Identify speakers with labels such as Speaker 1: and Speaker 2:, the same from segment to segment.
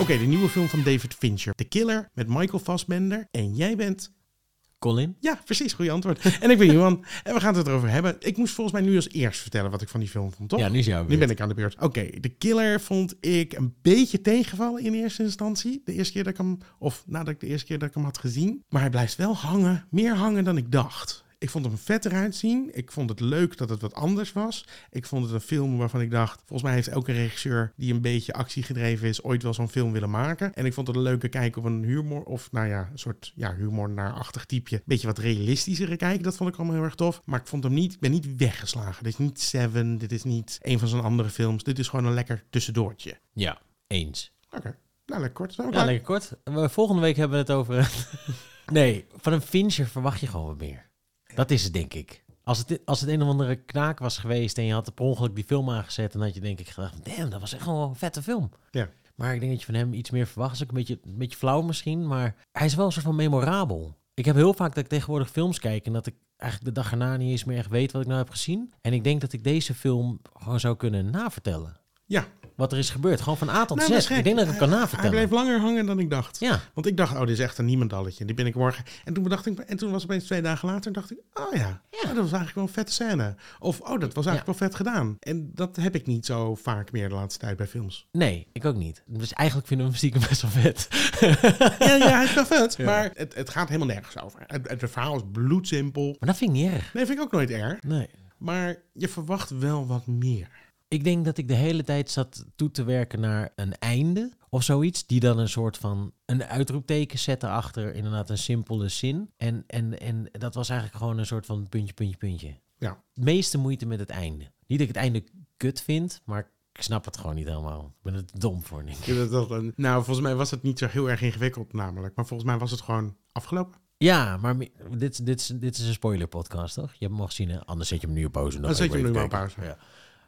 Speaker 1: Oké, de nieuwe film van David Fincher. The Killer met Michael Fassbender. En jij bent...
Speaker 2: Colin?
Speaker 1: Ja, precies. Goede antwoord. En ik ben Johan. En we gaan het erover hebben. Ik moest volgens mij nu als eerst vertellen wat ik van die film vond, toch?
Speaker 2: Ja, nu is jouw
Speaker 1: Nu
Speaker 2: beurt.
Speaker 1: ben ik aan de beurt. Oké, de killer vond ik een beetje tegenvallen in eerste instantie. De eerste keer dat ik hem, of nadat ik de eerste keer dat ik hem had gezien. Maar hij blijft wel hangen, meer hangen dan ik dacht. Ik vond hem vet eruit zien. Ik vond het leuk dat het wat anders was. Ik vond het een film waarvan ik dacht... volgens mij heeft elke regisseur die een beetje actiegedreven is... ooit wel zo'n film willen maken. En ik vond het een leuke kijk op een humor... of nou ja, een soort ja, humor-naarachtig typeje. Beetje wat realistischere kijk. Dat vond ik allemaal heel erg tof. Maar ik vond hem niet... Ik ben niet weggeslagen. Dit is niet Seven. Dit is niet een van zijn andere films. Dit is gewoon een lekker tussendoortje.
Speaker 2: Ja, eens.
Speaker 1: Oké. Nou, lekker kort. Zijn we
Speaker 2: Ja,
Speaker 1: klaar?
Speaker 2: lekker kort. We- Volgende week hebben we het over... eh, nee, van een Fincher verwacht je gewoon wat meer. Dat is het, denk ik. Als het, als het een of andere knaak was geweest en je had per ongeluk die film aangezet... en had je denk ik gedacht, damn, dat was echt wel een vette film.
Speaker 1: Ja.
Speaker 2: Maar ik denk dat je van hem iets meer verwacht. Dat is ook een beetje, een beetje flauw misschien, maar hij is wel een soort van memorabel. Ik heb heel vaak dat ik tegenwoordig films kijk en dat ik eigenlijk de dag erna niet eens meer echt weet wat ik nou heb gezien. En ik denk dat ik deze film gewoon zou kunnen navertellen.
Speaker 1: Ja.
Speaker 2: Wat er is gebeurd, gewoon van A tot
Speaker 1: Nou, dat is
Speaker 2: Z.
Speaker 1: gek.
Speaker 2: Ik denk dat ik het kan
Speaker 1: Hij
Speaker 2: navertellen.
Speaker 1: bleef langer hangen dan ik dacht.
Speaker 2: Ja,
Speaker 1: Want ik dacht, oh, dit is echt een niemendalletje. Die ben ik morgen. En toen bedacht ik, en toen was opeens twee dagen later, dacht ik, oh ja, oh, dat was eigenlijk wel een vette scène. Of, oh, dat was eigenlijk wel vet gedaan. En dat heb ik niet zo vaak meer de laatste tijd bij films.
Speaker 2: nee, ik ook niet. Dus eigenlijk vinden we hem stiekem best wel vet.
Speaker 1: ja, ja, hij is wel vet, maar het, het gaat helemaal nergens over. Het, het verhaal is bloedsimpel.
Speaker 2: Maar dat vind ik niet erg.
Speaker 1: Nee, vind ik ook nooit erg.
Speaker 2: Nee.
Speaker 1: Maar je verwacht wel wat meer.
Speaker 2: Ik denk dat ik de hele tijd zat toe te werken naar een einde of zoiets. Die dan een soort van een uitroepteken zette achter inderdaad een simpele zin. En, en, en dat was eigenlijk gewoon een soort van puntje, puntje, puntje.
Speaker 1: Ja.
Speaker 2: Het meeste moeite met het einde. Niet dat ik het einde kut vind, maar ik snap het gewoon niet helemaal. Ik ben er te dom voor, denk ik.
Speaker 1: Ik vind Dat, dat, een- nou, volgens mij was het niet zo heel erg ingewikkeld namelijk. Maar volgens mij was het gewoon afgelopen.
Speaker 2: Ja, maar me- dit, dit, is- dit is een spoiler podcast, toch? Je hebt hem al gezien, hè? Anders zet je hem nu op pauze.
Speaker 1: Dan zet je hem nu maar op
Speaker 2: pauze.
Speaker 1: pauze.
Speaker 2: Ja.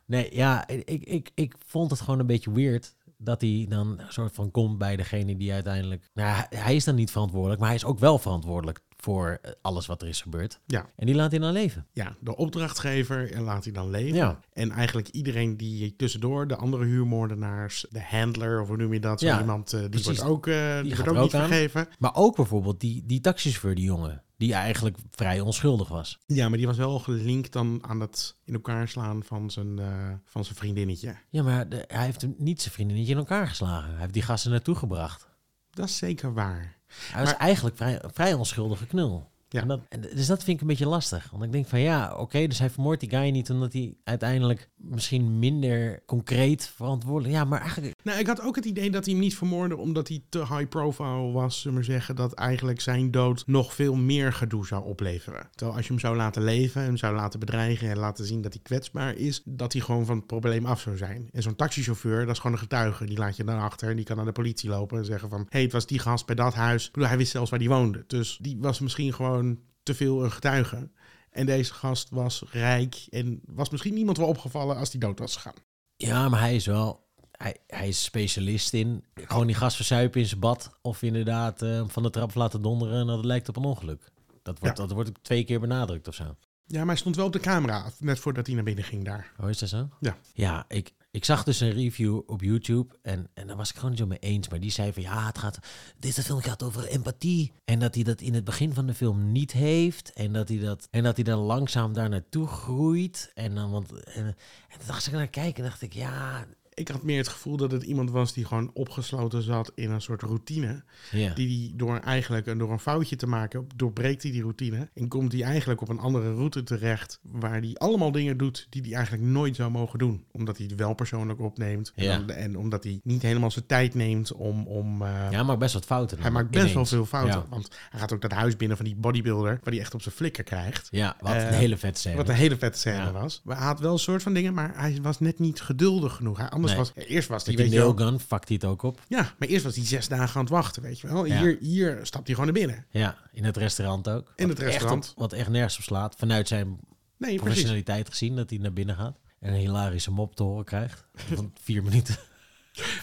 Speaker 2: Nee, ja, ik, ik- ik, ik vond het gewoon een beetje weird dat hij dan een soort van komt bij degene die uiteindelijk... Nou, hij- hij is dan niet verantwoordelijk, maar hij is ook wel verantwoordelijk voor eh, alles wat er is gebeurd.
Speaker 1: Ja.
Speaker 2: En die laat hij dan leven.
Speaker 1: Ja, de opdrachtgever en laat hij dan leven.
Speaker 2: Ja.
Speaker 1: En eigenlijk iedereen die tussendoor, de andere huurmoordenaars, de handler of hoe noem je dat, zo
Speaker 2: Ja,
Speaker 1: iemand, eh, die
Speaker 2: precies.
Speaker 1: wordt ook, eh, die
Speaker 2: gaat
Speaker 1: wordt ook
Speaker 2: er
Speaker 1: niet
Speaker 2: ook aan.
Speaker 1: vergeven.
Speaker 2: Maar ook bijvoorbeeld die, die taxichauffeur, die jongen, die eigenlijk vrij onschuldig was.
Speaker 1: Ja, maar die was wel gelinkt dan aan het in elkaar slaan van zijn, eh, van zijn vriendinnetje.
Speaker 2: Ja, maar de- hij heeft hem niet zijn vriendinnetje in elkaar geslagen. Hij heeft die gasten naartoe gebracht.
Speaker 1: Dat is zeker waar.
Speaker 2: Hij was
Speaker 1: Maar-
Speaker 2: eigenlijk vrij, een vrij onschuldige knul.
Speaker 1: Ja.
Speaker 2: En dat, en dus dat vind ik een beetje lastig. Want ik denk van ja, oké, dus hij vermoordt die guy niet omdat hij uiteindelijk misschien minder concreet verantwoordelijk... Ja, maar eigenlijk...
Speaker 1: Nou, ik had ook het idee dat hij hem niet vermoordde omdat hij te high profile was. Zullen we maar zeggen dat eigenlijk zijn dood nog veel meer gedoe zou opleveren. Terwijl als je hem zou laten leven, hem zou laten bedreigen en laten zien dat hij kwetsbaar is, dat hij gewoon van het probleem af zou zijn. En zo'n taxichauffeur, dat is gewoon een getuige. Die laat je dan achter en die kan naar de politie lopen en zeggen van, hé, hey, het was die gast bij dat huis. Ik bedoel, hij wist zelfs waar die woonde. Dus die was misschien gewoon te veel een getuige. En deze gast was rijk en was misschien niemand wel opgevallen als die dood was gegaan.
Speaker 2: Ja, maar hij is wel... Hij, hij is specialist in gewoon die gast verzuipen in zijn bad... of inderdaad eh, van de trap laten donderen en dat het lijkt op een ongeluk. Dat wordt, dat wordt ook twee keer benadrukt of zo.
Speaker 1: Ja, maar hij stond wel op de camera, net voordat hij naar binnen ging daar.
Speaker 2: Oh, is dat zo?
Speaker 1: Ja.
Speaker 2: Ja, ik, ik zag dus een review op YouTube en, en daar was ik gewoon niet zo mee eens. Maar die zei van ja, het gaat, deze film gaat over empathie. En dat hij dat in het begin van de film niet heeft. En dat hij, dat, en dat hij dan langzaam daar naartoe groeit. En dan, want, en, en toen dacht ik naar kijken en dacht ik ja.
Speaker 1: Ik had meer het gevoel dat het iemand was die gewoon opgesloten zat in een soort routine.
Speaker 2: ja.
Speaker 1: Die die door eigenlijk een- door een foutje te maken, doorbreekt hij die routine. En komt hij eigenlijk op een andere route terecht. Waar hij allemaal dingen doet die hij eigenlijk nooit zou mogen doen. Omdat hij het wel persoonlijk opneemt. en
Speaker 2: Ja.
Speaker 1: om- En omdat hij niet helemaal zijn tijd neemt om. om eh,
Speaker 2: ja, hij maakt best wat fouten.
Speaker 1: Hij
Speaker 2: dan,
Speaker 1: maakt best wel
Speaker 2: ineens.
Speaker 1: veel fouten.
Speaker 2: Ja.
Speaker 1: Want hij gaat ook dat huis binnen van die bodybuilder. Waar hij echt op zijn flikker krijgt.
Speaker 2: Ja, wat
Speaker 1: Eh,
Speaker 2: een hele vet scène.
Speaker 1: Wat een hele vette scène
Speaker 2: Ja.
Speaker 1: was. Maar Hij had wel een soort van dingen, maar hij was net niet geduldig genoeg. Hij, anders
Speaker 2: Nee.
Speaker 1: was, eerst was hij,
Speaker 2: Met
Speaker 1: weet
Speaker 2: die
Speaker 1: je wel,
Speaker 2: nailgun fuckt hij het ook op.
Speaker 1: ja, maar eerst was hij zes dagen aan het wachten, weet je wel.
Speaker 2: Ja.
Speaker 1: Hier, hier stapt hij gewoon naar binnen.
Speaker 2: Ja, in het restaurant ook.
Speaker 1: In
Speaker 2: Wat
Speaker 1: het
Speaker 2: echt
Speaker 1: restaurant.
Speaker 2: op- wat echt nergens op slaat. Vanuit zijn
Speaker 1: Nee, precies.
Speaker 2: professionaliteit gezien dat hij naar binnen gaat en een hilarische mop te horen krijgt van vier minuten.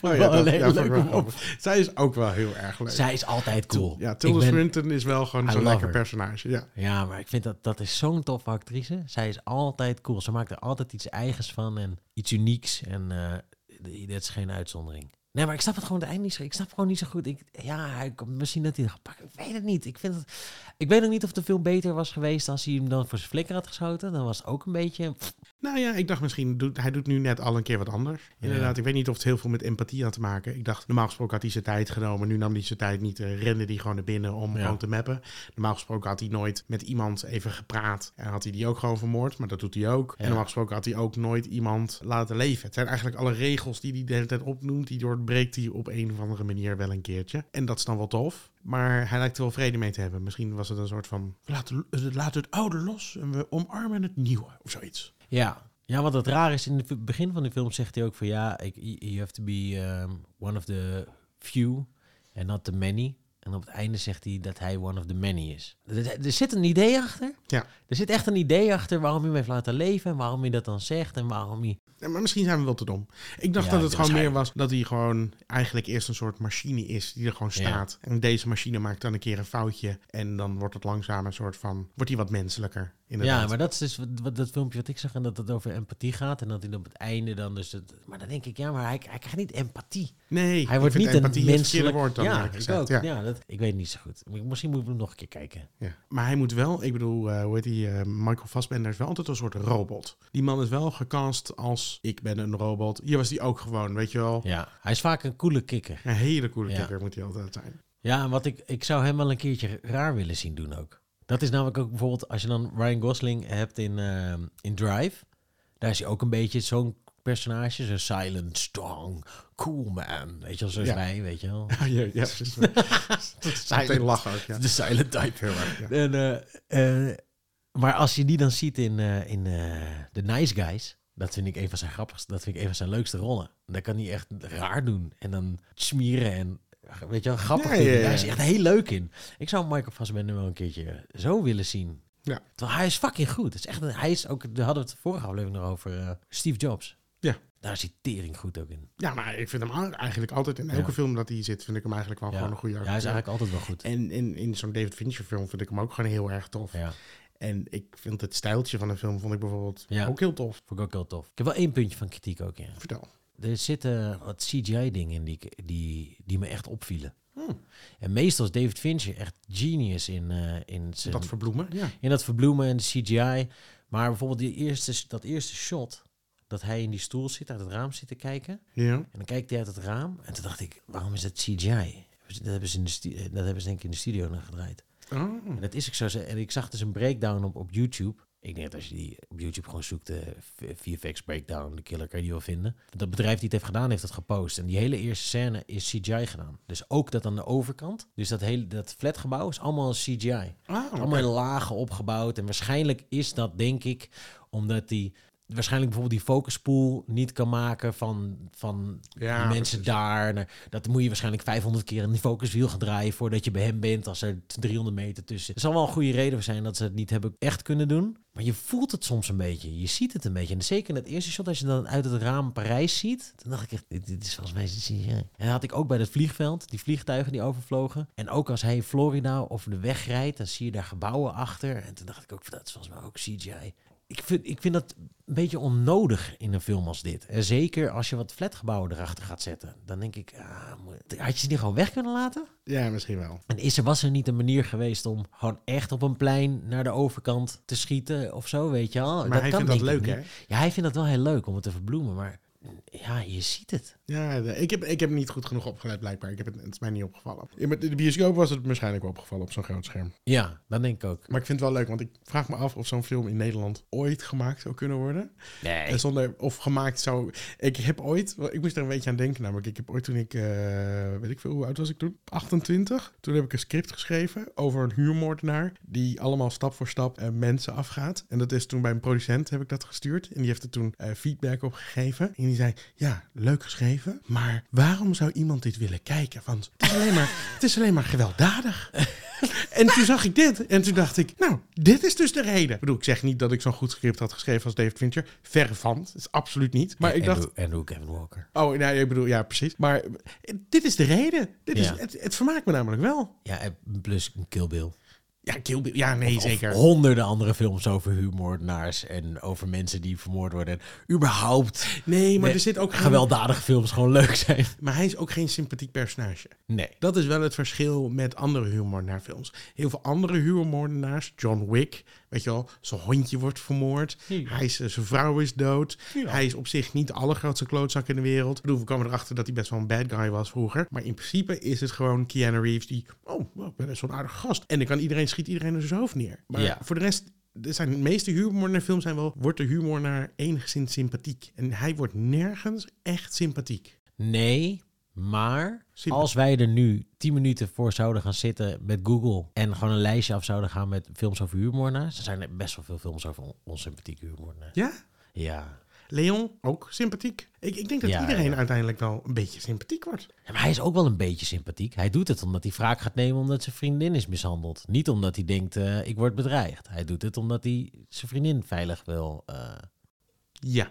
Speaker 1: Oh,
Speaker 2: Wel
Speaker 1: dat-
Speaker 2: een le-
Speaker 1: vond ik
Speaker 2: leuke
Speaker 1: wel
Speaker 2: mop.
Speaker 1: grappig. Zij is ook wel heel erg leuk.
Speaker 2: Zij is altijd cool.
Speaker 1: Ja,
Speaker 2: ik
Speaker 1: Tilda
Speaker 2: ben-
Speaker 1: Swinton is wel gewoon
Speaker 2: I
Speaker 1: zo'n
Speaker 2: love
Speaker 1: lekker
Speaker 2: her.
Speaker 1: personage. Ja.
Speaker 2: Ja, maar ik vind dat dat is zo'n toffe actrice. Zij is altijd cool. Ze maakt er altijd iets eigens van en iets unieks. En eh dit is geen uitzondering. Nee, maar ik snap het gewoon uiteindelijk niet zo. Ik snap gewoon niet zo goed. Ik, ja, hij- misschien dat hij het gaat pakken. Ik weet het niet. Ik, vind het, ik weet ook niet of de film beter was geweest als hij hem dan voor zijn flikker had geschoten. Dan was het ook een beetje.
Speaker 1: Nou ja, ik dacht misschien, doet, hij doet nu net al een keer wat anders.
Speaker 2: Ja.
Speaker 1: Inderdaad, ik weet niet of het heel veel met empathie had te maken. Ik dacht, normaal gesproken had hij zijn tijd genomen. Nu nam hij zijn tijd niet, eh, rende hij gewoon naar binnen om
Speaker 2: Ja.
Speaker 1: gewoon te mappen. Normaal gesproken had hij nooit met iemand even gepraat. En had hij die ook gewoon vermoord, maar dat doet hij ook.
Speaker 2: Ja.
Speaker 1: En normaal gesproken had hij ook nooit iemand laten leven. Het zijn eigenlijk alle regels die hij de hele tijd opnoemt. Die doorbreekt hij op een of andere manier wel een keertje. En dat is dan wel tof. Maar hij lijkt er wel vrede mee te hebben. Misschien was het een soort van, laat, laat het oude los en we omarmen het nieuwe of zoiets.
Speaker 2: Ja. Ja, wat het raar is, in het v- begin van de film zegt hij ook van ja, ik, you have to be um, one of the few and not the many. En op het einde zegt hij dat hij one of the many is. Er, er zit een idee achter.
Speaker 1: Ja.
Speaker 2: Er zit echt een idee achter waarom hij hem heeft laten leven en waarom hij dat dan zegt en waarom hij...
Speaker 1: Ja, maar misschien zijn we wel te dom. Ik dacht
Speaker 2: Ja,
Speaker 1: dat het gewoon meer
Speaker 2: waarschijnlijk.
Speaker 1: was dat hij gewoon eigenlijk eerst een soort machine is die er gewoon staat. En deze machine maakt dan een keer een foutje. En dan wordt het langzaam een soort van. Wordt hij wat menselijker. Inderdaad.
Speaker 2: Ja, maar dat is dus wat, wat- dat filmpje wat ik zag en dat het over empathie gaat en dat hij dan op het einde dan dus... Het, maar dan denk ik, ja, maar hij, hij krijgt niet empathie.
Speaker 1: nee,
Speaker 2: hij wordt niet een
Speaker 1: empathie het
Speaker 2: menselijk...
Speaker 1: verkeerde woord dan.
Speaker 2: ja,
Speaker 1: eerlijk
Speaker 2: ik
Speaker 1: gezegd.
Speaker 2: ook.
Speaker 1: Ja.
Speaker 2: Ja. dat, ik weet het niet zo goed. Misschien moeten we hem nog een keer kijken.
Speaker 1: Ja. Maar hij moet wel, ik bedoel, eh, hoe heet die, eh, Michael Fassbender is wel altijd een soort robot. Die man is wel gecast als ik ben een robot. Hier was die ook gewoon, weet je wel.
Speaker 2: Ja, hij is vaak een coole kikker.
Speaker 1: Een hele coole
Speaker 2: Ja.
Speaker 1: kikker moet hij altijd zijn.
Speaker 2: Ja, en wat ik, ik zou hem wel een keertje raar willen zien doen ook. Dat is namelijk ook bijvoorbeeld als je dan Ryan Gosling hebt in, ehm, in Drive. Daar is hij ook een beetje zo'n personage, zo'n silent, strong, cool man. Weet je wel, zoals
Speaker 1: Ja.
Speaker 2: wij, weet je wel.
Speaker 1: Ja, ja, precies. dat is meteen lachen ook, ja.
Speaker 2: De silent type.
Speaker 1: Heel erg, ja.
Speaker 2: En, eh, eh, maar als je die dan ziet in, eh, in eh, The Nice Guys, dat vind ik een van zijn grappigste, dat vind ik een van zijn leukste rollen. Dan kan hij echt raar doen en dan smieren en weet je wel, grappig
Speaker 1: Ja,
Speaker 2: doen.
Speaker 1: ja, ja.
Speaker 2: Daar is hij echt heel leuk in. Ik zou Michael Fassbender wel een keertje zo willen zien.
Speaker 1: Ja.
Speaker 2: Terwijl hij is fucking goed. Het is echt, een- hij is ook, daar hadden we het vorige aflevering nog over, eh, Steve Jobs.
Speaker 1: Ja.
Speaker 2: Daar is hij tering goed ook in.
Speaker 1: Ja, maar ik vind hem al- eigenlijk altijd in elke
Speaker 2: Ja.
Speaker 1: film dat hij zit, vind ik hem eigenlijk wel
Speaker 2: Ja.
Speaker 1: gewoon een goede
Speaker 2: Ja, hij
Speaker 1: acteur.
Speaker 2: is eigenlijk altijd wel goed.
Speaker 1: En in, in zo'n David Fincher film vind ik hem ook gewoon heel erg tof.
Speaker 2: Ja.
Speaker 1: En ik vind het stijltje van een film vond ik bijvoorbeeld
Speaker 2: Ja.
Speaker 1: ook heel tof.
Speaker 2: Vond ik ook heel tof. Ik heb wel één puntje van kritiek ook, ja.
Speaker 1: Vertel.
Speaker 2: Er zitten wat CGI-dingen in die, ik- die, die me echt opvielen.
Speaker 1: Hmm.
Speaker 2: En meestal is David Fincher echt genius in, eh, in, zijn,
Speaker 1: Dat verbloemen. Ja.
Speaker 2: in dat verbloemen en de CGI. Maar bijvoorbeeld die eerste, dat eerste shot, dat hij in die stoel zit, uit het raam zit te kijken.
Speaker 1: ja.
Speaker 2: En dan kijkt hij uit het raam en toen dacht ik, waarom is dat CGI? Dat hebben ze, in de stu- eh, dat hebben ze denk ik in de studio nog gedraaid.
Speaker 1: Oh.
Speaker 2: En dat is ook zo. Ze- En ik zag dus een breakdown op, op YouTube. Ik denk dat als je die op YouTube gewoon zoekt, eh, de VFX breakdown, de killer kan je die wel vinden. Dat bedrijf die het heeft gedaan, heeft dat gepost. En die hele eerste scène is CGI gedaan. Dus ook dat aan de overkant. Dus dat hele dat flatgebouw is allemaal CGI.
Speaker 1: Ah, oké.
Speaker 2: Allemaal in lagen opgebouwd. En waarschijnlijk is dat, denk ik, omdat die... Waarschijnlijk bijvoorbeeld die focuspool niet kan maken van, van
Speaker 1: Ja,
Speaker 2: de mensen daar. Nou, Dat moet je waarschijnlijk 500 keer in die focuswiel gaan draaien voordat je bij hem bent als er 300 meter tussen zit. Er zal wel een goede reden voor zijn dat ze het niet hebben echt kunnen doen. Maar je voelt het soms een beetje. Je ziet het een beetje. En zeker in het eerste shot, als je dan uit het raam Parijs ziet, dan dacht ik echt, dit, dit is volgens mij CGI. En dat had ik ook bij dat vliegveld, die vliegtuigen die overvlogen. En ook als hij in Florida over de weg rijdt, dan zie je daar gebouwen achter. En toen dacht ik ook, dat is volgens mij ook CGI ik vind, ik vind dat een beetje onnodig in een film als dit. En zeker als je wat flatgebouwen erachter gaat zetten. Dan denk ik, ah, moet- had je ze die gewoon weg kunnen laten?
Speaker 1: ja, misschien wel.
Speaker 2: En is er, was er niet een manier geweest om gewoon echt op een plein naar de overkant te schieten of zo, weet je wel?
Speaker 1: Maar hij vindt dat
Speaker 2: denk
Speaker 1: leuk,
Speaker 2: ik
Speaker 1: hè?
Speaker 2: niet. Ja, hij vindt dat wel heel leuk om het te verbloemen, maar ja, je ziet het.
Speaker 1: Ja, de- ik heb, ik heb niet goed genoeg opgeleid blijkbaar. Ik heb het, het is mij niet opgevallen. In de bioscoop was het waarschijnlijk wel opgevallen op zo'n groot scherm.
Speaker 2: Ja, dan denk ik ook.
Speaker 1: Maar ik vind het wel leuk, want ik vraag me af of zo'n film in Nederland ooit gemaakt zou kunnen worden.
Speaker 2: Nee.
Speaker 1: En zonder of gemaakt zou. Ik heb ooit. Ik moest er een beetje aan denken, namelijk. Ik heb ooit toen ik. eh, weet ik veel, hoe oud was ik toen? 28. Toen heb ik een script geschreven over een huurmoordenaar. Die allemaal stap voor stap eh, mensen afgaat. En dat is toen bij een producent heb ik dat gestuurd. En die heeft er toen eh, feedback op gegeven. En die zei: Ja, leuk geschreven. Maar waarom zou iemand dit willen kijken? Want het is alleen maar, het is alleen maar gewelddadig. En toen zag ik dit en toen dacht ik, nou, dit is dus de reden. Ik bedoel, ik zeg niet dat ik zo'n goed script had geschreven als David Fincher. Verre van, dat is absoluut niet. Maar ik
Speaker 2: en
Speaker 1: dacht,
Speaker 2: hoe- En hoe Kevin Walker.
Speaker 1: oh, nou, ik bedoel, ja, precies. Maar eh, dit is de reden. Dit
Speaker 2: Ja.
Speaker 1: is, het, het vermaakt me namelijk wel.
Speaker 2: Ja, en plus een Kill Bill.
Speaker 1: Ja, Kill Bill, ja, nee, zeker.
Speaker 2: Of honderden andere films over huurmoordenaars en over mensen die vermoord worden. En überhaupt.
Speaker 1: Nee, maar
Speaker 2: Nee,
Speaker 1: er zit ook geen-
Speaker 2: Gewelddadige films gewoon leuk zijn.
Speaker 1: Maar hij is ook geen sympathiek personage.
Speaker 2: Nee.
Speaker 1: Dat is wel het verschil met andere huurmoordenaarfilms. Heel veel andere huurmoordenaars, John Wick, weet je wel, zijn hondje wordt vermoord.
Speaker 2: Ja.
Speaker 1: Hij is, eh, zijn vrouw is dood.
Speaker 2: Ja.
Speaker 1: Hij is op zich niet de allergrootste klootzak in de wereld. Ik bedoel, we kwamen erachter dat hij best wel een bad guy was vroeger. Maar in principe is het gewoon Keanu Reeves die, oh, wel, ik ben best wel een aardige gast. En dan kan iedereen, schiet iedereen er zijn hoofd neer. Maar
Speaker 2: Ja.
Speaker 1: voor de rest... Er zijn, de meeste huurmoordenaarfilms zijn wel... wordt de huurmoordenaar enigszins sympathiek. En hij wordt nergens echt sympathiek.
Speaker 2: Nee, maar
Speaker 1: Simpel.
Speaker 2: als wij er nu 10 minuten voor zouden gaan zitten met Google en gewoon een lijstje af zouden gaan met films over huurmoordenaars, dan zijn er best wel veel films over on- onsympathieke huurmoordenaars.
Speaker 1: Ja?
Speaker 2: Ja.
Speaker 1: Leon, ook sympathiek. Ik, ik denk dat
Speaker 2: Ja,
Speaker 1: iedereen
Speaker 2: ja.
Speaker 1: uiteindelijk wel een beetje sympathiek wordt.
Speaker 2: Ja, Maar hij is ook wel een beetje sympathiek. Hij doet het omdat hij wraak gaat nemen omdat zijn vriendin is mishandeld. Niet omdat hij denkt, eh, ik word bedreigd. Hij doet het omdat hij zijn vriendin veilig wil. eh,
Speaker 1: Ja.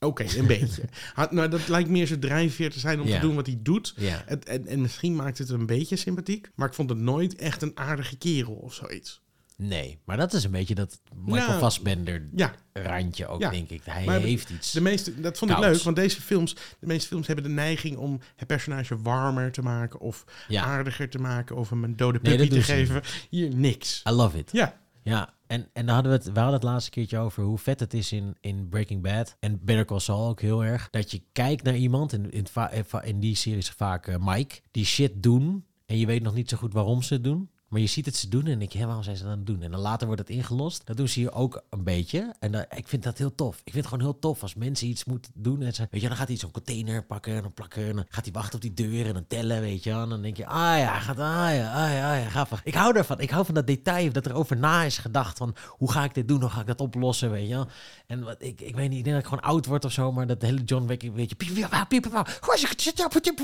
Speaker 1: Oké, een beetje. Ha, nou, dat lijkt meer zijn drijfveer te zijn om
Speaker 2: Ja.
Speaker 1: te doen wat hij doet.
Speaker 2: ja.
Speaker 1: Het, en, en misschien maakt het een beetje sympathiek, maar ik vond het nooit echt een aardige kerel of zoiets.
Speaker 2: Nee, maar dat is een beetje dat Michael
Speaker 1: Nou,
Speaker 2: Fassbender
Speaker 1: Ja,
Speaker 2: randje ook,
Speaker 1: Ja.
Speaker 2: denk ik. Hij
Speaker 1: Maar
Speaker 2: heeft iets.
Speaker 1: de meeste, dat vond ik
Speaker 2: Koud.
Speaker 1: leuk, want deze films, de meeste films hebben de neiging om het personage warmer te maken of
Speaker 2: Ja.
Speaker 1: aardiger te maken of hem een dode
Speaker 2: Nee,
Speaker 1: puppy
Speaker 2: dat
Speaker 1: te
Speaker 2: doen ze
Speaker 1: geven.
Speaker 2: niet.
Speaker 1: Hier niks.
Speaker 2: I love it.
Speaker 1: Ja,
Speaker 2: Ja, en, en dan hadden we, het, we hadden het laatste keertje over hoe vet het is in, in Breaking Bad. En Better Call Saul ook heel erg. Dat je kijkt naar iemand, in, in, het va- in va- in die series vaak eh, Mike, die shit doen. En je weet nog niet zo goed waarom ze het doen. Maar je ziet het ze doen en ik, ja, waarom zijn ze dat aan het doen? En dan later wordt het ingelost. Dat doen ze hier ook een beetje. En dat- ik vind dat heel tof. Ik vind het gewoon heel tof als mensen iets moeten doen. En ze, weet je, dan gaat hij zo'n container pakken en dan plakken. En dan gaat hij wachten op die deur en dan tellen, weet je. wel. En dan denk je, ah ja, gaat, ah ja, ah ja, ah ja, gaaf. Ik hou daarvan. Ik hou van dat detail dat er over na is gedacht. Van, hoe ga ik dit doen? Hoe ga ik dat oplossen, weet je. wel. En wat, ik, ik weet niet, ik denk dat ik gewoon oud word of zo. Maar dat hele John Wick, weet je. piep, piep, piep, piep, piep,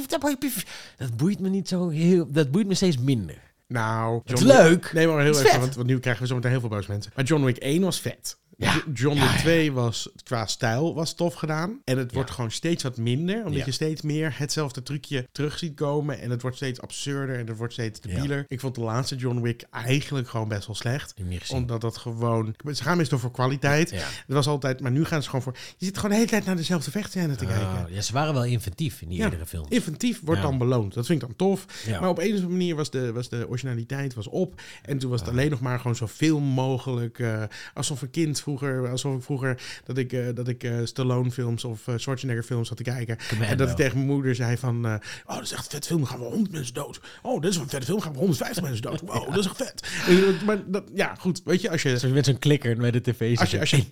Speaker 2: piep. Dat boeit me niet zo heel... Dat boeit me steeds minder.
Speaker 1: Nou,
Speaker 2: is
Speaker 1: Wick-
Speaker 2: leuk.
Speaker 1: Nee, maar heel
Speaker 2: Het is
Speaker 1: even,
Speaker 2: vet.
Speaker 1: want, want nu krijgen we zometeen heel veel boze mensen. Maar John Wick 1 was vet.
Speaker 2: Ja.
Speaker 1: Jo- John
Speaker 2: Ja,
Speaker 1: Wick
Speaker 2: ja.
Speaker 1: 2 was qua stijl was tof gedaan. En het wordt gewoon steeds wat minder. Omdat
Speaker 2: Ja.
Speaker 1: je steeds meer hetzelfde trucje terug ziet komen. En het wordt steeds absurder en het wordt steeds
Speaker 2: Ja.
Speaker 1: debieler. Ik vond de laatste John Wick eigenlijk gewoon best wel slecht.
Speaker 2: Die heb ik niet gezien.
Speaker 1: Omdat dat gewoon... Ze gaan meestal voor kwaliteit.
Speaker 2: Ja.
Speaker 1: Het was altijd... Maar nu gaan ze gewoon voor... Je zit gewoon de hele tijd naar dezelfde vechtscène te kijken.
Speaker 2: Ah, ja, ze waren wel inventief in die
Speaker 1: Ja,
Speaker 2: eerdere films.
Speaker 1: Inventief wordt
Speaker 2: Ja.
Speaker 1: dan beloond. Dat vind ik dan tof.
Speaker 2: Ja.
Speaker 1: Maar op een of andere manier was de, was de originaliteit was op. En toen was het alleen nog maar gewoon zoveel mogelijk. eh, alsof een kind vroeger, alsof ik vroeger dat ik, eh, dat ik eh, Stallone films of eh, Schwarzenegger films had te kijken.
Speaker 2: Commando.
Speaker 1: En dat ik tegen mijn moeder zei van, eh, oh dat is echt een vet film, dan gaan we 100 mensen dood. Oh, dit is wel een vet film, gaan we 150 mensen dood. Wow, dat is echt vet. En, maar dat, ja, goed, weet je, als je...
Speaker 2: Zoals je met zo'n klikker met de tv
Speaker 1: Als je,
Speaker 2: zit.
Speaker 1: als je,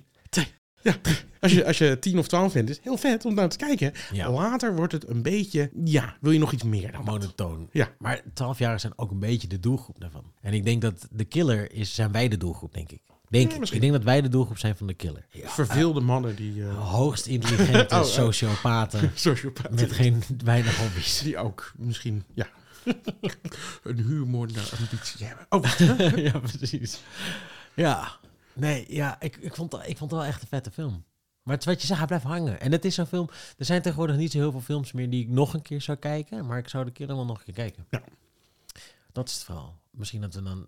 Speaker 1: ja, als je, als je 10 of 12 vindt, is het heel vet om naar te kijken.
Speaker 2: Ja.
Speaker 1: Later wordt het een beetje, ja, wil je nog iets meer dan dat?
Speaker 2: monotoon.
Speaker 1: Ja.
Speaker 2: Maar 12-jarigen zijn ook een beetje de doelgroep daarvan. En ik denk dat de killer is, zijn wij de doelgroep, denk ik. Denk ik.
Speaker 1: misschien.
Speaker 2: ik denk dat wij de doelgroep zijn van de killer.
Speaker 1: Verveelde mannen die eh
Speaker 2: Hoogst intelligente
Speaker 1: Oh, oh.
Speaker 2: sociopaten
Speaker 1: sociopaten.
Speaker 2: met geen weinig hobby's.
Speaker 1: Die ook misschien, ja. een huurmoordenaar ambitie hebben. Oh,
Speaker 2: ja, precies. Ja. Nee, ja, ik, ik, vond, ik vond het wel echt een vette film. Maar het is wat je zegt, hij blijft hangen. En het is zo'n film... Er zijn tegenwoordig niet zo heel veel films meer die ik nog een keer zou kijken. Maar ik zou de keer wel nog een keer kijken.
Speaker 1: Ja.
Speaker 2: Dat is het verhaal. Misschien dat we dan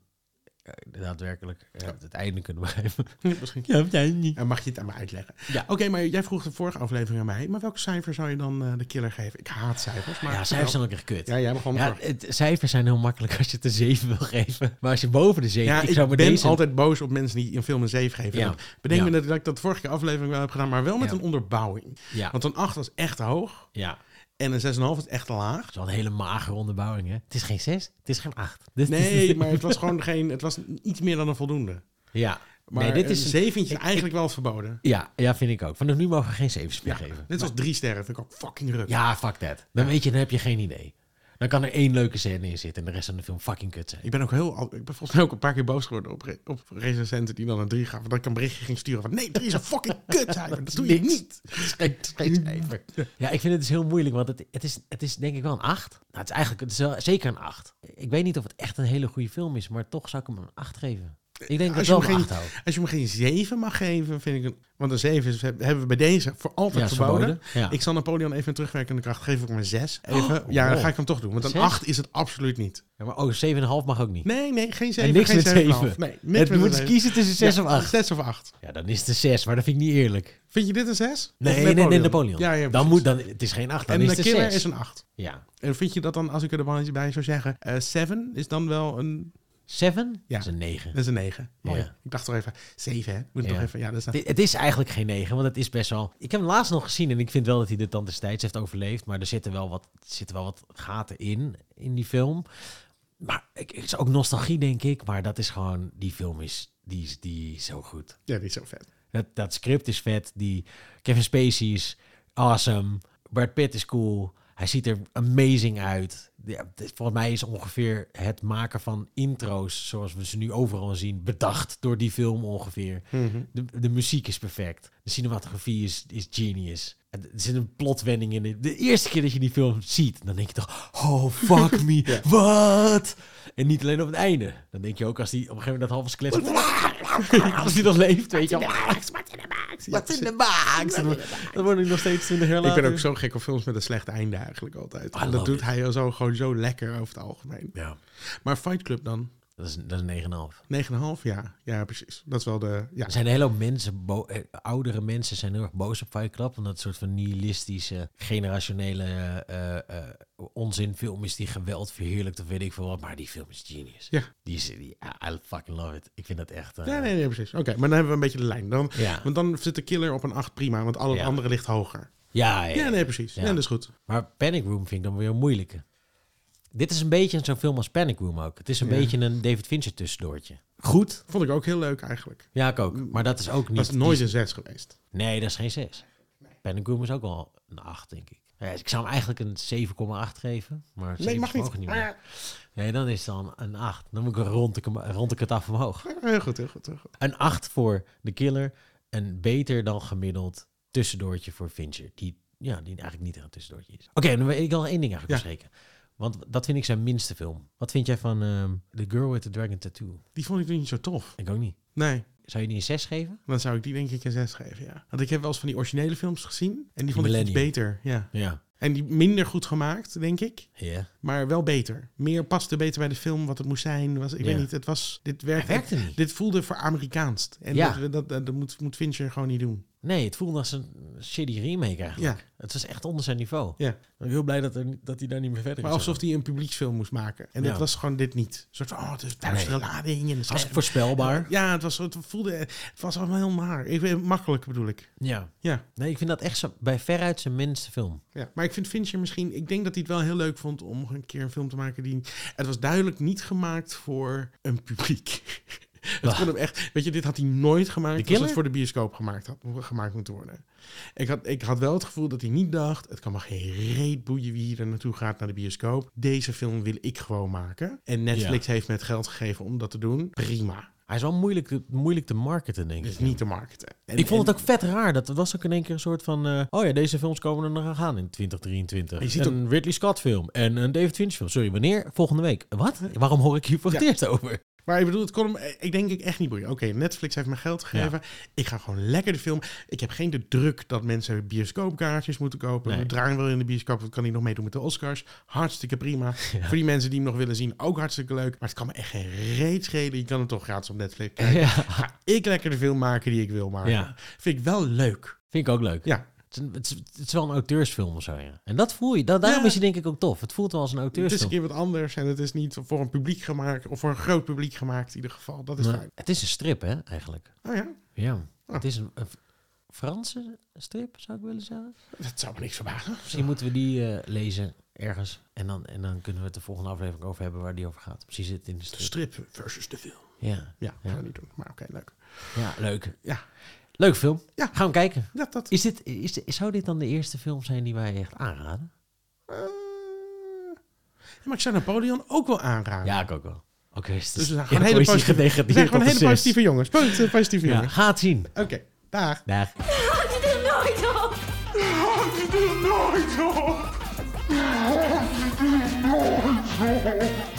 Speaker 2: eh, daadwerkelijk eh, het einde kunnen begrijpen.
Speaker 1: misschien.
Speaker 2: Ja, jij niet.
Speaker 1: En mag je het aan me uitleggen?
Speaker 2: Ja.
Speaker 1: Oké, maar jij vroeg de vorige aflevering aan mij. Maar welk cijfer zou je dan eh, de killer geven? Ik haat cijfers. Maar
Speaker 2: Ja, cijfers zijn ook echt kut.
Speaker 1: Ja, jij begon
Speaker 2: Ja,
Speaker 1: voor.
Speaker 2: het, cijfers zijn heel makkelijk als je het een 7 wil geven. Maar als je boven de 7...
Speaker 1: Ja,
Speaker 2: ik
Speaker 1: ik,
Speaker 2: zou
Speaker 1: ben
Speaker 2: met deze...
Speaker 1: altijd boos op mensen die een film een 7 geven.
Speaker 2: Ja.
Speaker 1: En Bedenk me
Speaker 2: Ja.
Speaker 1: dat ik- dat ik dat vorige keer aflevering wel heb gedaan, maar wel met
Speaker 2: Ja.
Speaker 1: een onderbouwing.
Speaker 2: Ja,
Speaker 1: Want een 8 was echt hoog.
Speaker 2: ja.
Speaker 1: En een 6,5 was echt laag.
Speaker 2: Het is wel een hele magere onderbouwing, hè? Het is geen 6, het is geen 8. Dit-
Speaker 1: Nee, maar het was gewoon geen. Het was iets meer dan een voldoende.
Speaker 2: Ja.
Speaker 1: Maar
Speaker 2: nee, dit
Speaker 1: een
Speaker 2: is een...
Speaker 1: zeventje is eigenlijk wel verboden.
Speaker 2: Ja, ja, vind ik ook. Vanaf nu mogen we geen 7 meer
Speaker 1: Ja,
Speaker 2: geven.
Speaker 1: net als drie sterren vind ik ook fucking ruk.
Speaker 2: Ja, fuck dat. Dan weet je, dan heb je geen idee. Dan kan er één leuke scène in zitten en de rest van de film fucking kut zijn.
Speaker 1: Ik ben ook heel. al- Ik ben volgens mij ook een paar keer boos geworden op, re- op recensenten die dan een 3 gaven. Dat ik een berichtje ging sturen van nee, 3 is een fucking kutcijfer. Dat doe je
Speaker 2: Niks.
Speaker 1: niet.
Speaker 2: Geen- geen cijfer. Ja, ik vind het dus heel moeilijk, want het, het, is, het is denk ik wel een 8. Nou, het is eigenlijk het is wel zeker een 8. Ik weet niet of het echt een hele goede film is, maar toch zou ik hem een 8 geven. Ik denk dat
Speaker 1: Als
Speaker 2: ik
Speaker 1: je,
Speaker 2: wel
Speaker 1: hem
Speaker 2: een 8
Speaker 1: geen,
Speaker 2: hou.
Speaker 1: als je hem geen 7 mag geven, vind ik een. Want een 7 is, hebben we bij deze voor altijd
Speaker 2: is
Speaker 1: verboden.
Speaker 2: verboden, ja.
Speaker 1: Ik zal Napoleon even een terugwerkende kracht geven. Ik hem een 6. Even. ja, dan
Speaker 2: wow.
Speaker 1: ga ik hem toch doen. Want een
Speaker 2: Oh. Zes?
Speaker 1: 8 is het absoluut niet.
Speaker 2: Ja, maar oh, 7,5 mag ook niet.
Speaker 1: Nee, nee, geen 7.
Speaker 2: en niks
Speaker 1: geen
Speaker 2: met
Speaker 1: 7,5.
Speaker 2: 7.
Speaker 1: Nee, niks
Speaker 2: het
Speaker 1: met een
Speaker 2: moet eens
Speaker 1: zeven.
Speaker 2: kiezen tussen 6
Speaker 1: Ja,
Speaker 2: of 8.
Speaker 1: 6 of 8.
Speaker 2: Ja, dan is het een 6, maar dat vind ik niet eerlijk.
Speaker 1: Vind je dit een 6?
Speaker 2: Nee, nee, nee, Napoleon.
Speaker 1: Ja, ja,
Speaker 2: dan
Speaker 1: precies.
Speaker 2: moet, dan, het is geen 8, dan
Speaker 1: En
Speaker 2: is
Speaker 1: de
Speaker 2: het
Speaker 1: killer
Speaker 2: 6.
Speaker 1: is een 8.
Speaker 2: Ja.
Speaker 1: En vind je dat dan, als ik er de mannetje bij zou zeggen, 7 is dan wel een...
Speaker 2: 7
Speaker 1: Ja.
Speaker 2: is een 9.
Speaker 1: Dat is een 9. Mooi.
Speaker 2: Ja.
Speaker 1: Ik dacht toch even, 7 hè? Moet ik
Speaker 2: Ja.
Speaker 1: toch even... Ja, dat is een-
Speaker 2: Het is eigenlijk geen 9, want het is best wel... Ik heb hem laatst nog gezien en ik vind wel dat hij de tand des tijds heeft overleefd. Maar er zitten wel wat, er zitten wel wat gaten in, in die film. Maar ik, het is ook nostalgie, denk ik. Maar dat is gewoon... Die film is, die is, die is zo goed.
Speaker 1: ja, die is zo vet.
Speaker 2: Dat, dat script is vet. Die Kevin Spacey is awesome. Brad Pitt is cool. Hij ziet er amazing uit. Ja, dit- volgens mij is ongeveer het maken van intro's, zoals we ze nu overal zien, bedacht door die film ongeveer. De, de muziek is perfect. De cinematografie is, is genius. Er zit een plotwending in. De eerste keer dat je die film ziet, dan denk je toch... Oh, fuck me, wat? En niet alleen op het einde. Dan denk je ook als die op een gegeven moment dat halve skelet... als die nog leeft, weet je wel.
Speaker 1: Ja,
Speaker 2: Wat in de maak? Dan word ik nog steeds 20 jaar
Speaker 1: ik
Speaker 2: later.
Speaker 1: ben ook zo gek op films met een slecht einde eigenlijk altijd.
Speaker 2: I
Speaker 1: En dat
Speaker 2: love
Speaker 1: doet
Speaker 2: it.
Speaker 1: hij zo, gewoon zo lekker over het algemeen.
Speaker 2: Ja,
Speaker 1: Maar Fight Club dan?
Speaker 2: dat is, dat is 9,5.
Speaker 1: 9,5? Ja, ja, precies. Dat is wel de... Ja,
Speaker 2: Er zijn een hele hoop mensen, bo- eh, oudere mensen zijn heel erg boos op Fight Club. Omdat het een soort van nihilistische, generationele eh, eh, onzinfilm is die geweld verheerlijkt of weet ik veel wat. Maar die film is genius.
Speaker 1: Ja.
Speaker 2: Die is, die, I fucking love it. Ik vind dat echt... eh,
Speaker 1: ja nee, nee, precies. Oké, maar dan hebben we een beetje de lijn. Dan,
Speaker 2: Ja.
Speaker 1: Want dan zit de killer op een 8 prima, want al het
Speaker 2: Ja.
Speaker 1: andere ligt hoger.
Speaker 2: Ja, ja,
Speaker 1: Ja, nee, precies.
Speaker 2: Ja.
Speaker 1: Ja, dat is goed.
Speaker 2: Maar Panic Room vind ik dan weer moeilijker. Dit is een beetje zo'n film als Panic Room ook. Het is een
Speaker 1: Ja.
Speaker 2: beetje een David Fincher tussendoortje. Goed.
Speaker 1: Vond ik ook heel leuk eigenlijk.
Speaker 2: Ja, ik ook. Maar dat is ook niet...
Speaker 1: Dat is nooit een 6 geweest.
Speaker 2: Nee, dat is geen 6. Panic Room is ook wel een 8, denk ik. Ja, dus ik zou hem eigenlijk een 7,8 geven. Maar
Speaker 1: Nee,
Speaker 2: 7
Speaker 1: mag
Speaker 2: mogen
Speaker 1: niet.
Speaker 2: meer. Nee, dan is het dan een 8. Dan moet ik rond ik, hem- rond ik het af omhoog.
Speaker 1: Ah, Heel goed, heel goed, heel goed.
Speaker 2: Een 8 voor de killer. Een beter dan gemiddeld tussendoortje voor Fincher. Die, ja, die eigenlijk niet echt een tussendoortje is. Oké, dan weet ik al één ding eigenlijk
Speaker 1: Ja.
Speaker 2: bespreken. Want dat vind ik zijn minste film. Wat vind jij van ehm, The Girl with the Dragon Tattoo?
Speaker 1: Die vond ik toen niet zo tof.
Speaker 2: Ik ook niet.
Speaker 1: Nee,
Speaker 2: Zou je die een 6 geven?
Speaker 1: dan zou ik die denk ik een 6 geven, ja. Want ik heb wel eens van die originele films gezien. En die vond ik iets
Speaker 2: Millennium.
Speaker 1: beter, ja.
Speaker 2: Ja.
Speaker 1: En die minder goed gemaakt, denk ik.
Speaker 2: Ja.
Speaker 1: Maar wel beter. Meer paste beter bij de film, wat het moest zijn. Was, ik
Speaker 2: Ja.
Speaker 1: weet niet, het was... Dit
Speaker 2: Hij
Speaker 1: werkte,
Speaker 2: werkte niet.
Speaker 1: dit voelde voor Amerikaans. En
Speaker 2: Ja.
Speaker 1: dat, dat, dat, dat moet, moet Fincher gewoon niet doen.
Speaker 2: Nee, het voelde als een shitty remake eigenlijk.
Speaker 1: Ja.
Speaker 2: Het was echt onder zijn niveau.
Speaker 1: Ja.
Speaker 2: Ik ben heel blij dat, er, dat hij daar niet meer verder
Speaker 1: Maar
Speaker 2: is.
Speaker 1: alsof hij een publieksfilm moest maken. En dat
Speaker 2: Ja.
Speaker 1: was gewoon dit niet. Een soort van, oh, het is duistere
Speaker 2: Nee.
Speaker 1: lading. En het
Speaker 2: Als
Speaker 1: is-
Speaker 2: voorspelbaar.
Speaker 1: Ja, het, was, het voelde... Het was allemaal heel naar. Ik, weet- makkelijk bedoel ik.
Speaker 2: Ja.
Speaker 1: Ja.
Speaker 2: Nee, ik vind dat echt zo, bij veruit zijn minste film.
Speaker 1: Ja, maar ik vind Fincher misschien... Ik denk dat hij het wel heel leuk vond om een keer een film te maken die... Het was duidelijk niet gemaakt voor een publiek. Het
Speaker 2: Ah.
Speaker 1: kon hem echt... Weet je, dit had hij nooit
Speaker 2: De
Speaker 1: gemaakt als
Speaker 2: Killer?
Speaker 1: het voor de bioscoop gemaakt had gemaakt moeten worden. Ik had, ik had wel het gevoel dat hij niet dacht... Het kan maar geen reet boeien wie hier er naartoe gaat naar de bioscoop. Deze film wil ik gewoon maken. En Netflix heeft me het geld gegeven om dat te doen. Prima.
Speaker 2: Hij is wel moeilijk te, moeilijk te marketen, denk ik.
Speaker 1: Dus niet te marketen. En-
Speaker 2: ik vond
Speaker 1: en-
Speaker 2: het ook vet raar. Dat was ook in één keer een soort van... eh, oh ja, deze films komen er nog aan gaan in 2023.
Speaker 1: Je ziet
Speaker 2: een Ridley Scott film. En een David Fincher film. Sorry, wanneer? Volgende week. Wat? Waarom hoor ik hier voor het
Speaker 1: Ja.
Speaker 2: eerst over?
Speaker 1: Maar ik bedoel, het kon hem, eh, ik denk ik echt niet boeien. Oké, Netflix heeft me geld gegeven. Ik ga gewoon lekker de film. Ik heb geen de druk dat mensen bioscoopkaartjes moeten kopen.
Speaker 2: Nee.
Speaker 1: We draaien wel in de bioscoop. Wat kan hij nog meedoen met de Oscars? Hartstikke prima. Voor die mensen die hem nog willen zien, ook hartstikke leuk. Maar het kan me echt geen reet schelen. Je kan hem toch gratis op Netflix kijken.
Speaker 2: Ja.
Speaker 1: Ga ik lekker de film maken die ik wil maken.
Speaker 2: Ja.
Speaker 1: Vind ik wel leuk.
Speaker 2: Vind ik ook leuk.
Speaker 1: Ja.
Speaker 2: Het, is, een- het, is, het is wel een auteursfilm of zo, ja. En dat voel je. Da- daarom
Speaker 1: Ja.
Speaker 2: is hij denk ik ook tof. Het voelt wel als een
Speaker 1: Het is een
Speaker 2: auteursfilm.
Speaker 1: keer wat anders en het is niet voor een publiek gemaakt. Of voor een groot publiek gemaakt in ieder geval. Dat is
Speaker 2: Maar
Speaker 1: fijn.
Speaker 2: het is een strip, hè, eigenlijk.
Speaker 1: Oh ja,
Speaker 2: Ja.
Speaker 1: Ah.
Speaker 2: Het is een, een F- Franse strip, zou ik willen zeggen.
Speaker 1: dat zou me niks verbazen.
Speaker 2: Misschien moeten we die eh, lezen ergens. En dan, en dan kunnen we het de volgende aflevering over hebben waar die over gaat. Precies het in
Speaker 1: De
Speaker 2: de strip.
Speaker 1: strip versus de film.
Speaker 2: Ja.
Speaker 1: Ja,
Speaker 2: Ja.
Speaker 1: gaan we niet doen. Maar oké, leuk.
Speaker 2: ja, leuk.
Speaker 1: Ja.
Speaker 2: Leuk film.
Speaker 1: Ja.
Speaker 2: Gaan we kijken.
Speaker 1: Ja, dat...
Speaker 2: Is dit, is, zou dit dan de eerste film zijn die wij echt aanraden?
Speaker 1: eh, Maar ik zou Napoleon ook wel aanraden.
Speaker 2: Ja, ik ook wel. Oké, dus
Speaker 1: dus we zijn
Speaker 2: ja,
Speaker 1: gewoon
Speaker 2: dan
Speaker 1: hele
Speaker 2: is die
Speaker 1: positieve, we
Speaker 2: genegeerd
Speaker 1: zijn gewoon
Speaker 2: op de
Speaker 1: hele
Speaker 2: zes.
Speaker 1: positieve jongens. Punt, eh, positieve
Speaker 2: Ja,
Speaker 1: jongens.
Speaker 2: ga het zien.
Speaker 1: Oké, dag.
Speaker 2: Dag.
Speaker 3: Houd je er nooit op!
Speaker 4: Nooit op! Nooit op!